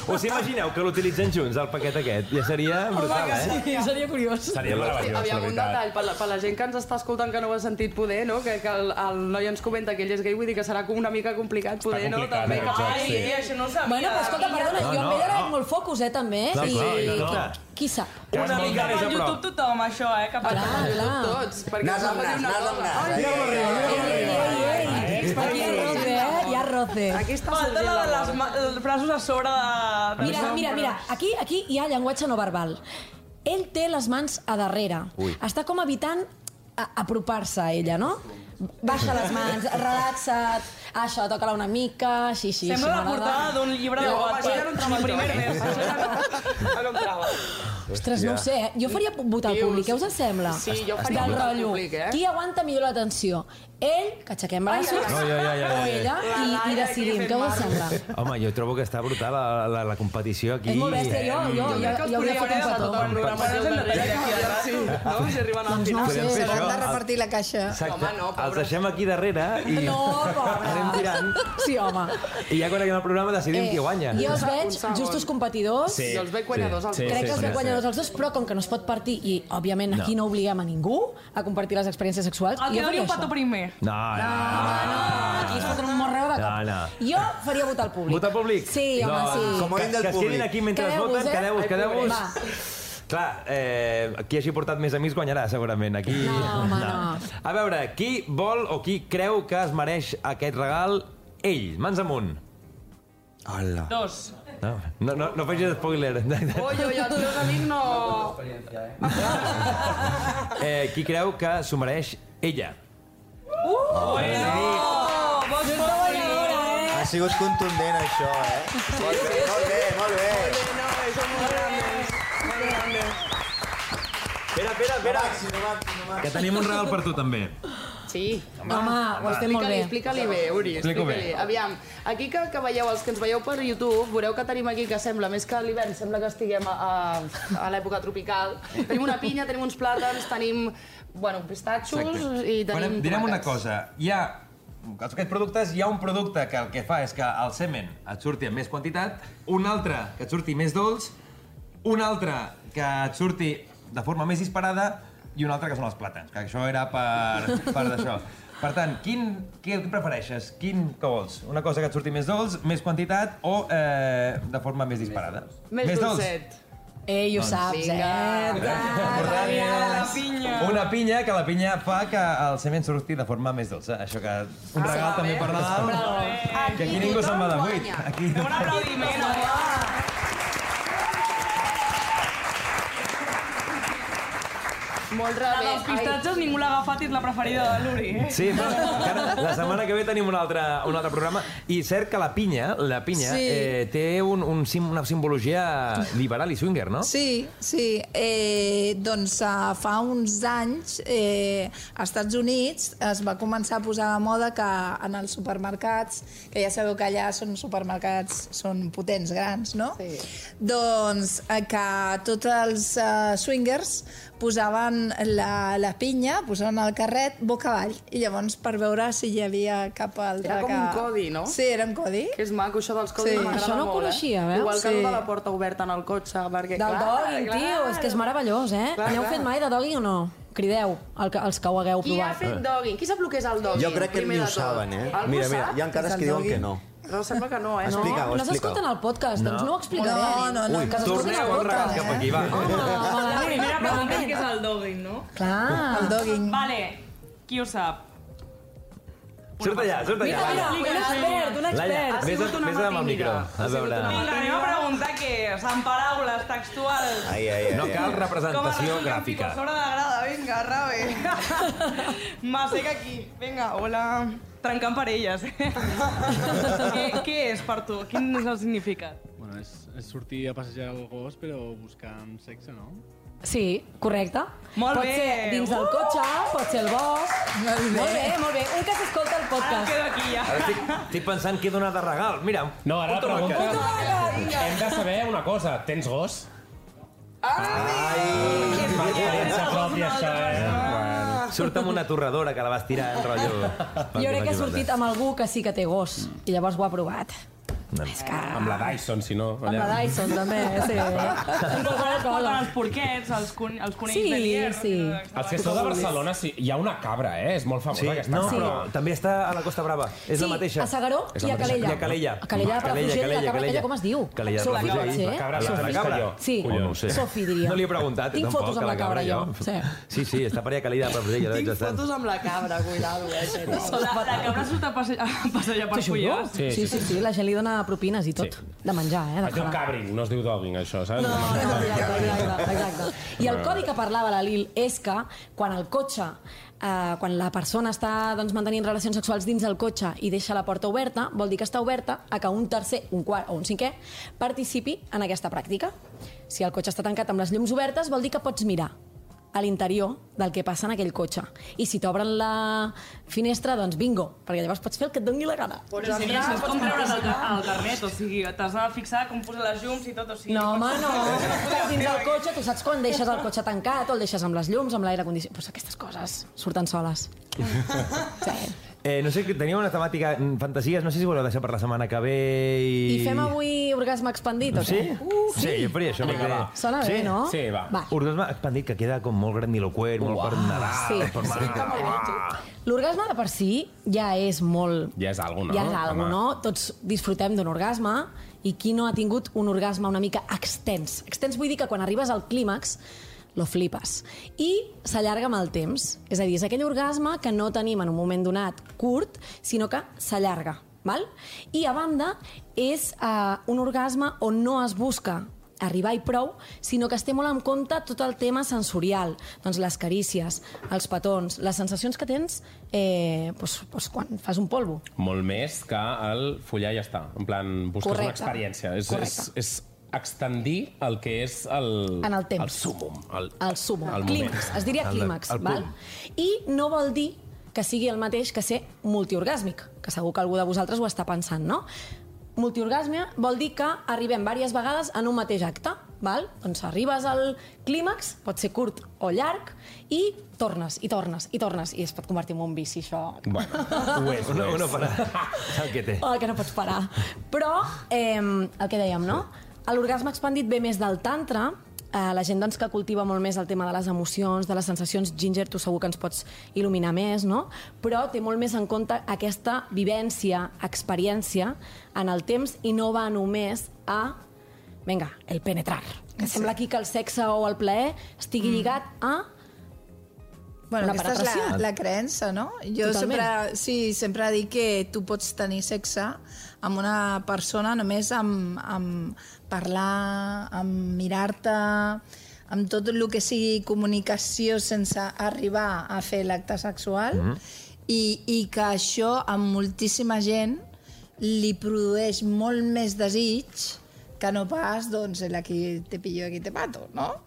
Us imagineu que l'utilitzen junts, el paquet aquest? Ja seria brutal, eh? Seria curiós. Seria Sí, meravellós, la aviam, un veritat. detall, per la, per la gent que ens està escoltant que no ho ha sentit poder, no? Que, que el, el noi ens comenta que ell és gay, vull dir que serà com una mica complicat poder, no? complicat, eh, que... exacte. Ai, Sí. això no ho sabia. Bueno, però escolta, perdona, No, jo no, em veia no. molt focus, eh, també. Clar, I clar, i qui, clar. qui sap? Una mica més a prop. YouTube tothom, això, eh? Cap Clar, clar. Tots, perquè Nas em amb va dir nas, una nas amb cosa. nas. eh? Ai, Ei, ei, ei, ei. Aquí hi ha roce, eh? Hi ha roce. Aquí està Falta sorgint la de la les ma- els braços a sobre de... de Mira, això, mira, però- mira, aquí, aquí hi ha llenguatge no verbal. Ell té les mans a darrere. Ui. Està com evitant a- apropar-se a ella, no? Baixa les mans, relaxa't, això, toca-la una mica, així, així. Sembla així la m'agrada. portada d'un llibre de No, Wattpad. això ja no entrava Mi al primer joc. beso. Això ja Ah, no, no entrava. Ostres, no ho sé, eh? Jo faria votar al Dius. públic, què us en sembla? Sí, jo faria Del votar al rotllo, públic, eh? Qui aguanta millor l'atenció? Ell, que aixequem braços, ai, ai, ai, ai, o ai. ella, La Laia i, aquí i decidim, fent què us en mal. sembla? Home, jo trobo que està brutal la, la, la competició aquí. És molt bèstia, jo, jo, jo, jo, jo hauria fet un petó. Tot el programa del darrere, aviam si, no? Si arriben al Doncs final. no ho Podem sé, fer S'hauran de això? repartir la caixa. Exacte. Home, no, pobres. Els deixem aquí darrere i No, anem tirant. pobre. Sí, home. Eh, I ja quan acabem el programa decidim qui guanya. Jo els Un veig segon. justos competidors. Sí. Jo els veig guanyadors als Sí, Crec que els sí, veig sí. guanyadors els dos, però com que no es pot partir, i òbviament aquí no, obliguem a ningú a compartir les experiències sexuals, El jo que doni faria un petó això. primer. No, no. No, aquí es foten un morreu de cop. No, no. Jo faria votar al públic. Vota públic? Sí, home, Doncs, sí. Com a ell que, del que es quedin públic. aquí mentre es Quedeu-vos, voten, eh? quedeu-vos, Ai, quedeu-vos. pobres. Clar, eh, qui hagi portat més amics guanyarà, segurament. Aquí... No, home, no. A veure, qui vol o qui creu que es mereix aquest regal? Ell, mans amunt. Hola. Dos. No, no, no, no facis spoiler. Oh. Oi, oi, els meus amics no... Eh, qui creu que s'ho mereix? Ella. Eh. Ha sigut contundent, això, eh? Molt bé, molt bé, molt bé. Espera, espera, espera. Que tenim un regal per tu, també. Sí, Home, ho estem explica-li, molt bé. explica-li bé, Uri, Explico bé. explica-li. Aviam, aquí que, que veieu, els que ens veieu per YouTube, veureu que tenim aquí, que sembla, més que a l'hivern, sembla que estiguem a, a, a l'època tropical. Tenim una pinya, tenim uns plàtans, tenim, bueno, pistatxos i tenim Farem, direm una tomàquets. cosa. Hi ha aquests productes, hi ha un producte que el que fa és que el semen et surti en més quantitat, un altre que et surti més dolç, un altre que et surti de forma més disparada i un altre que són els plàtans, que això era per, per d'això. Per tant, quin, què prefereixes? Quin que vols? Una cosa que et surti més dolç, més quantitat o eh, de forma més disparada? Més, dolcet. Ei, ho saps, eh? Correcte. La pinya. Una pinya, que la pinya fa que el semen surti de forma més dolça. Això que un regal també per Nadal. Que aquí ningú se'n va de buit. Aquí... Un aplaudiment. Molt La rebé. dels pistatges ningú l'ha agafat i és la preferida de l'Uri, eh? Sí, però encara, la setmana que ve tenim un altre, un altre programa i cert que la pinya, la pinya Sí. eh, té un, un sim, una simbologia liberal i swinger, no? Sí, sí. Eh, doncs eh, fa uns anys eh, als Estats Units es va començar a posar de moda que en els supermercats, que ja sabeu que allà són supermercats, són potents, grans, no? Sí. Doncs eh, que tots els eh, swingers posaven la, la pinya, posaven el carret boca avall, i llavors per veure si hi havia cap altre Era com que... un codi, no? Sí, era un codi. Que és maco, això dels codis Sí. m'agrada Això no ho molt, coneixia, eh? veus? Igual que Sí. el de la porta oberta en el cotxe, perquè... Del dogging, tio, és que és meravellós, eh? Clar, N'heu clar. fet mai de dogging o no? Crideu el que, els que ho hagueu Qui ha provat. fet dogging? Qui sap el que és el dogging? Jo crec que primer ni ho de tot? saben, eh? Algú Mira, ho mira, sap? hi ha encares És el que diuen que doggui. no. No, sembla que no, eh? Explica. No? Explica-ho, no s'ha escoltat explica-ho. el podcast, doncs No. no ho explicaré. No, no, no. Que s'escolti Torneu el un podcast. regat cap eh? aquí, va. Home, La malament, primera pregunta és malament. que és el dogging, no? El Clar. dogging. Vale, qui ho sap? Surt allà, surt allà. Mira, mira, un expert, un Laia, expert. vés, a, vés a amb el micro. A veure... Vinga, anem a preguntar què és, en paraules textuals. Ai, ai, ai. No ai. cal Com a representació resulta gràfica. sobre de grada, vinga, rave. M'assec aquí, vinga, hola. Trencant parelles. eh? què, què és per tu? Quin és el significat? Bueno, és, és sortir a passejar el gos, però buscant sexe, no? Sí, correcte. Molt pot bé. ser dins del Uh! cotxe, pot ser el bosc. Molt bé. Molt bé, molt bé. Un que s'escolta el Ara em podcast. quedo aquí ja. Ara estic, estic pensant què donar de regal. Mira, No, ara la pregunta... Hem de saber una cosa. Tens gos? Defensa pròpia, això, eh? surt amb una torradora que la vas tirar en rotllo... Jo crec que ha sortit amb algú que sí que té gos i llavors ho ha provat. És que... Amb la Dyson, si no. Amb la Dyson, també, eh, sí. Em posaré cola. Es posen els porquets, els, con els conills Sí, de lier. sí. Els que sou de Barcelona, sí, hi ha una cabra, eh? És molt famosa, Sí, aquesta no, cabra. però també està a la Costa Brava. És sí, la mateixa. a Segaró És i la a mateixa. Calella. I a Calella. A Calella de Palafrugell, Calella, la cabra Calella. aquella com es diu? Calella de Sofi, Palafrugell. sí. La cabra, la, la, Sofi. cabra. Sí. O no ho sé. Sofi, diria. No li he preguntat. Tinc tampoc, fotos a amb la cabra, jo. Sí. Sí, sí, està per allà Calella de Palafrugell. jo la veig Tinc bastant. fotos amb la cabra, cuidado, eh? que no. La, la cabra surt a passejar, a passejar per No? fulles. Sí, sí, sí, sí, la gent li dona propines i tot. De menjar, eh? De Es diu cagar. cabring, no es diu dogging, això, saps? No, no, exacte, exacte, exacte. I el codi que parlava la Lil és que quan el cotxe, eh, quan la persona està doncs, mantenint relacions sexuals dins del cotxe i deixa la porta oberta, vol dir que està oberta a que un tercer, un quart o un cinquè participi en aquesta pràctica. Si el cotxe està tancat amb les llums obertes, vol dir que pots mirar a l'interior del que passa en aquell cotxe. I si t'obren la finestra, doncs bingo, perquè llavors pots fer el que et doni la gana. Pots entrar, sí, pots treure's el, el carnet, o sigui, t'has de fixar com posar les llums i tot, o sigui... No, home, pots- no. Estàs dins del cotxe, tu saps quan deixes el cotxe tancat o el deixes amb les llums, amb l'aire condicionat... Però aquestes coses surten soles. Sí. Eh, no sé, que teniu una temàtica, mm, fantasies, no sé si voleu deixar per la setmana que ve i... I fem avui orgasme expandit, o Sí? què? Uh, sí, jo faria això. perquè- Sona sí? bé, no? Sí, va. va. Orgasme expandit, que queda com molt grandiloquent, molt per Nadal, Sí. per Nadal. L'orgasme de per si ja és molt... Ja és algo, no? Ja és algo, Home. no? Tots disfrutem d'un orgasme i qui no ha tingut un orgasme una mica extens? Extens vull dir que quan arribes al clímax lo flipes. I s'allarga amb el temps. És a dir, és aquell orgasme que no tenim en un moment donat curt, sinó que s'allarga. Val? I a banda, és eh, un orgasme on no es busca arribar i prou, sinó que es té molt en compte tot el tema sensorial, doncs les carícies, els petons, les sensacions que tens eh, doncs, doncs quan fas un polvo. Molt més que el follar i ja està. En plan, busques Correcte. una experiència. És, és, Correcte. és extendir el que és el... En el temps. El súmum. El, El sumo, el el moment. clímax, es diria El- clímax, el val? punt. I no vol dir que sigui el mateix que ser multiorgàsmic, que segur que algú de vosaltres ho està pensant, no? Multiorgasme vol dir que arribem diverses vegades en un mateix acte, val? Doncs arribes al clímax, pot ser curt o llarg, i tornes, i tornes, i tornes, i es pot convertir en un vici, això, Bueno, ho és, Una, ho una és. para... El que té. o el que no pots parar. Però eh, el que dèiem, no? L'orgasme expandit ve més del tantra, eh, la gent doncs, que cultiva molt més el tema de les emocions, de les sensacions, Ginger, tu segur que ens pots il·luminar més, no? Però té molt més en compte aquesta vivència, experiència, en el temps, i no va només a, vinga, el penetrar. Que sembla aquí que el sexe o el plaer estigui lligat a... Bueno, Una aquesta és la, penetració. la creença, no? Jo Totalment. sempre, sí, sempre dic que tu pots tenir sexe amb una persona només amb, amb parlar, amb mirar-te, amb tot el que sigui comunicació sense arribar a fer l'acte sexual mm Mhm. -hmm. i, i que això a moltíssima gent li produeix molt més desig que no pas doncs, el aquí te pillo, aquí te mato, no?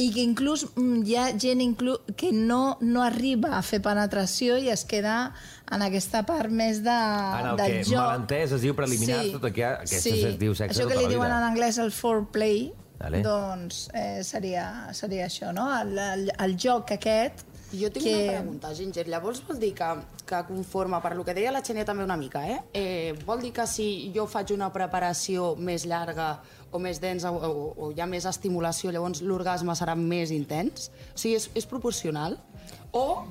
I que inclús mm, hi ha gent inclu que no, no arriba a fer penetració i es queda en aquesta part més de, Ara, el del que joc. malentès es diu preliminar, tot el que- aquesta es diu sexe Això que tota li la diuen vida. en anglès el foreplay, Dale. doncs eh, seria, seria això, no? El, el, el joc aquest... Jo tinc que... una pregunta, Ginger. Llavors vol dir que, que conforme, per lo que deia la Xenia també una mica, eh? eh? Vol dir que si jo faig una preparació més llarga o més densa o, o, o hi ha més estimulació, llavors l'orgasme serà més intens? O sigui, és, és proporcional? O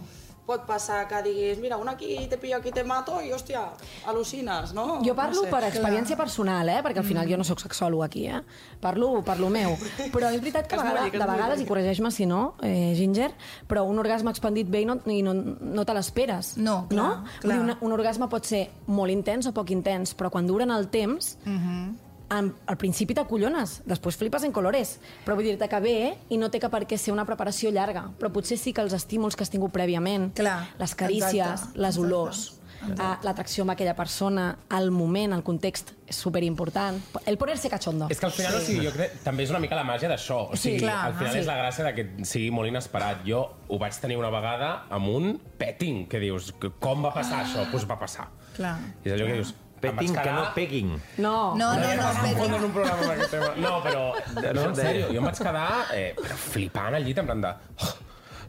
pot passar que diguis, mira, una aquí te pillo, aquí te mato i, hòstia, al·lucines, Oh, no? Jo parlo no sé. per experiència personal, eh? perquè al final Mm. jo no sóc sexòloga aquí, eh? parlo per lo meu. Però és veritat que a Que és molt vegades, bé, que és de molt vegades, bé. i corregeix-me si no, eh, Ginger, però un orgasme expandit bé i no, i no, no te l'esperes. No, clar. No? Vull dir, una, un orgasme pot ser molt intens o poc intens, però quan duren el temps, en, al principi t'acollones, després flipes en colores, però vull dir-te que bé i no té que per què ser una preparació llarga, però potser sí que els estímuls que has tingut prèviament, Clar, les carícies, exacte, les exacte. olors, eh, l'atracció amb aquella persona, el moment, el context, és superimportant. El ponerse cachondo. És que al final, sí. o sigui, jo crec, també és una mica la màgia d'això. O sigui, Sí, clar, al final sí. és la gràcia de que sigui molt inesperat. Jo ho vaig tenir una vegada amb un petting, que dius, que com va passar això? Doncs pues va passar. Clar. És allò que dius... Petting, que no peguin. No. No, no, no, no, un programa amb aquest tema. No, però... No, Això en deia. sèrio, jo em vaig quedar eh, però flipant al llit, en plan de... Oh,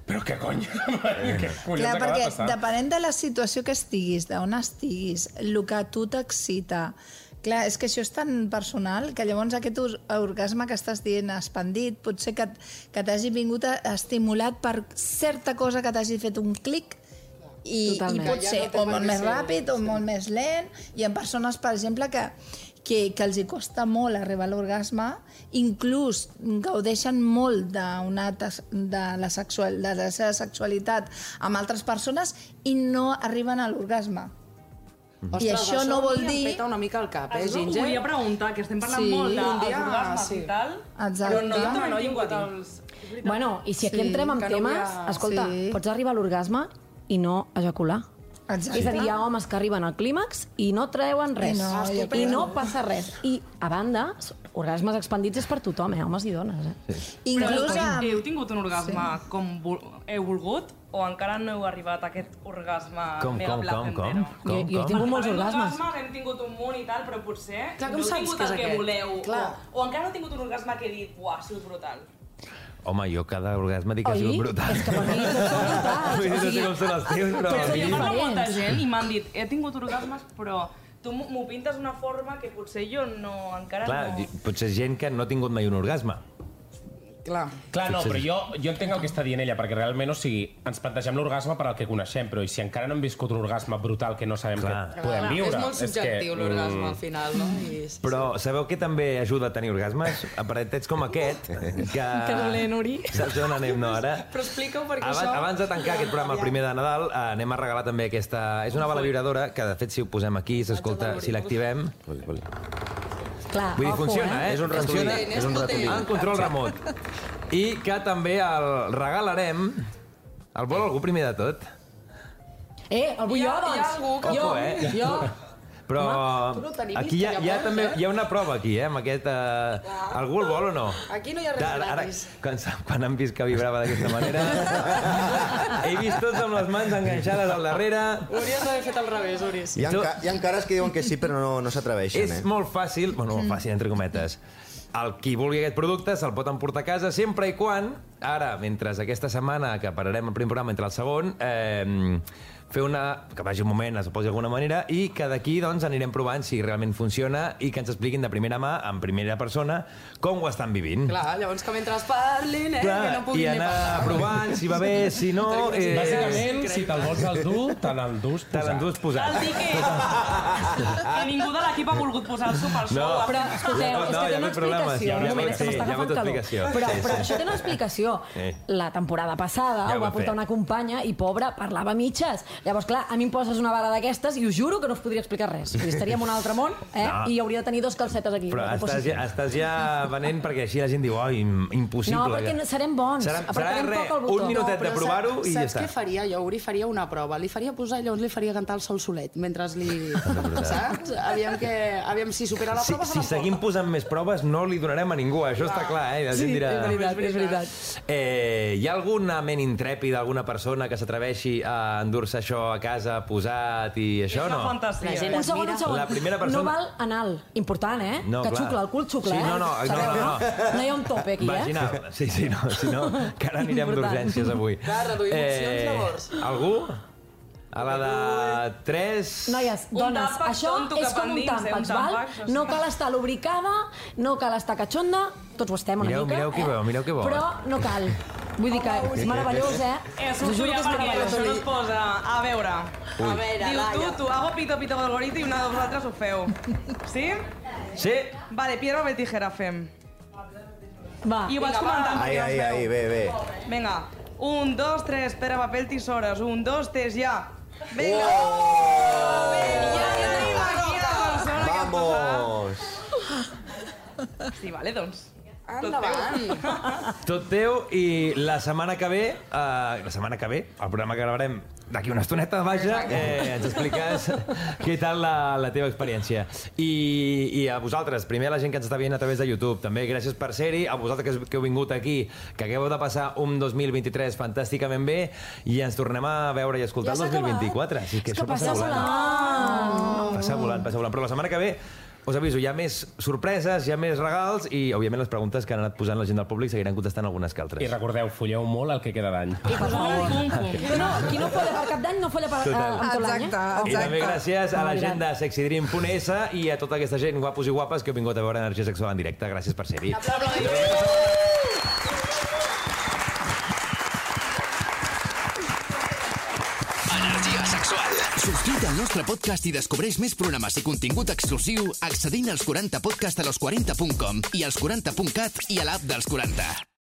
però què cony? què collons Clar, acaba de perquè passar? depenent de la situació que estiguis, d'on estiguis, el que a tu t'excita... Clar, és que això és tan personal que llavors aquest or- orgasme que estàs dient expandit pot ser que, que t'hagi vingut a- estimulat per certa cosa que t'hagi fet un clic i, i Totalment. pot Que ja ser no té o per molt què més ser, ràpid o molt més lent i en persones, per exemple, que, que, que els hi costa molt arribar a l'orgasme inclús gaudeixen molt d'una tas- de la, sexual, de la seva sexualitat amb altres persones i no arriben a l'orgasme. Mhm. I això no a mi vol em dir- peta una mica el cap, eh, Això ho Ginger? volia preguntar, que estem parlant molt de- un dia, dels orgasmes i tal, Exacte. però no tothom no ha hi hem tingut patit. els- Bueno, i si aquí Sí, entrem en que no temes, vull a- escolta, Sí. pots arribar a l'orgasme i no ejacular. Exacte. És a dir, hi ha homes que arriben al clímax i no treuen res. I no, jo I crec. no passa res. I, a banda, orgasmes expandits és per tothom, eh? homes i dones. Eh? Inclús amb... Heu tingut un orgasme sí. com vol- heu volgut o encara no heu arribat a aquest orgasme Com, mega com, com, placentero? com? Com, Jo- jo he com? tingut molts Havent orgasmes. Hem tingut un munt i tal, però potser Clar, com no heu saps tingut que és el que aquest? voleu. Clar. O, o encara no he tingut un orgasme que he dit, buah, ha sigut brutal. Home, jo cada orgasme dic que ha Oi? sigut brutal. És que per mi brutal. No sé com són els teus, però... Però a mi- jo parlo amb molta gent i m'han dit, he tingut orgasmes, però tu m'ho m'ho pintes d'una forma que potser jo no, encara Clar, no... gi- potser gent que no ha tingut mai un orgasme. Clar. Clar, no, però jo, jo entenc el que està dient ella, perquè realment, o sigui, ens plantegem l'orgasme per al que coneixem, però i si encara no hem viscut un orgasme brutal que no sabem Clar. que podem Clar, viure... És molt subjectiu, que, l'orgasme, mm, al final, no? I... Però sabeu que també ajuda a tenir orgasmes? Aparentets com aquest, que... Que dolent, Uri. Saps on anem, no, ara? Però explica-ho perquè Abans, això... abans de tancar aquest programa, el primer de Nadal, eh, anem a regalar també aquesta... És una bala vibradora que, de fet, si ho posem aquí, s'escolta, si l'activem... Clar, Vull dir, ojo, funciona, eh? És un ratolí. Funciona, És un ratolí. En control remot. I que també el regalarem... El vol algú primer de tot? Eh, el vull jo, doncs. Hi ha algú que... Jo, Ojo, eh? jo. Però Home, tu no t'animis, aquí hi ha, hi ha llavors, també eh? hi ha una prova aquí, eh, amb aquest... Eh, algú el vol o no? Aquí no hi ha res Ara, ara, gratis. quan, s'ha- quan han vist que vibrava d'aquesta manera... he vist tots amb les mans enganxades al darrere. Hauries d'haver fet al revés, Uris. Hi ha, enca hi ha encares que diuen que sí, però no, no s'atreveixen, És eh? molt fàcil, bueno, molt fàcil, entre cometes. El qui vulgui aquest producte se'l pot emportar a casa sempre i quan, ara, mentre aquesta setmana, que pararem el primer programa entre el segon, eh, fer una... que vagi un moment, es posi d'alguna manera, i que d'aquí doncs, anirem provant si realment funciona i que ens expliquin de primera mà, en primera persona, com ho estan vivint. Clar, llavors que mentre es parlin, eh, que no I puguin anar provant, si va bé, si no... Eh, Bàsicament, si te'l vols al dur, te l'endús posat. Te l'endús posat. Cal dir que, que ningú de l'equip ha volgut posar-s'ho per No. sou. eh? ha Però, fet- escolteu, és que té una explicació. Un moment, que m'està agafant calor. Però, però això té una explicació. Sí. La temporada passada Ja ho ho va va portar fer. una companya i, pobra, parlava a mitges. Llavors, clar, a mi em poses una vara d'aquestes i us juro que no us podria explicar res. Vull dir, Estaria en un altre món eh? No. i hauria de tenir dos calcetes aquí. Però No t'ho estàs posis. ja, estàs ja venent perquè així la gent diu, oi, im- impossible. No, perquè no- serem bons. Serà, serà Apretarem res, poc el botó. un minutet de però provar-ho saps- i ja Saps està. què faria jo? Uri faria una prova. Li faria posar i llavors li faria cantar el sol solet mentre li... Saps? Aviam, que, aviam si supera la Si, prova si se l'emporta. seguim posant més proves, no li donarem a ningú, això està clar, eh? La gent Sí, dirà... és veritat, és veritat. Eh, hi ha alguna ment intrèpida, alguna persona que s'atreveixi a endur-se això a casa posat i això, una no? fantasia. La gent Un segon, un segon. La primera persona... No val anal. Important, eh? No, que clar. xucla, el cul xucla, Sí, eh? no, no, no, Sabeu, no, no. No hi ha un tope aquí, eh? Vaginal. Sí, sí, no, si no, que ara anirem Important. d'urgències avui. Eh, Clar, reduir opcions, llavors. Algú? A la de 3... Noies, Un dones, tàmpac això tonto és cap com un endins, eh? Un tàmpac, tàmpac, val? això sí. No cal estar lubricada, no cal estar catxonda, tots ho estem una Mireu, mica. eh? mireu que bo, mireu que bo. Però no cal. Vull dir que Oh, és meravellós, eh? És Us un juro que full és perquè això no meravellós. es posa... A A veure... veure, Diu tu, Laia. tu hago pito pito gorgorito i una de vosaltres ho feu. Sí? Sí? Vale, piedra, papel, tijera, fem. Va, I ho vaig Vinga, va. comentant Ai, perquè no es ai, veu. ai, bé, bé. Vinga, un, dos, tres, pedra, papel, tisores. Un, dos, tres, ja. Vinga! Vinga, ja tenim aquí la persona que ens posarà. Vamos! Sí, vale, doncs. Endavant. Tot teu i la setmana que ve, eh, la setmana que ve, el programa que gravarem d'aquí una estoneta, vaja, eh, ens expliques què tal la, la teva experiència. I, I a vosaltres, primer a la gent que ens està veient a través de YouTube, també gràcies per ser-hi, a vosaltres que, us- que heu vingut aquí, que acabeu de passar un 2023 fantàsticament bé i ens tornem a veure i escoltar Ja el s'ha acabat. 2024. Sí, que És que això passa passa volant. volant. Passa volant, passa volant. Però la setmana que ve us aviso, hi ha més sorpreses, hi ha més regals i, òbviament, les preguntes que han anat posant la gent del públic seguiran contestant algunes que altres. I recordeu, folleu molt el que queda d'any. No, no, qui no folla per cap d'any no folla per, eh, Total. amb tot l'any, eh? Exacte, I també gràcies a la Obligat. gent de sexydream.es i a tota aquesta gent guapos i guapes que heu vingut a veure Energia Sexual en directe. Gràcies per ser-hi. Energia sexual. Subscriu-te al nostre podcast i descobreix més programes i contingut exclusiu accedint als 40podcastalos40.com i als 40.cat i a l'app dels 40.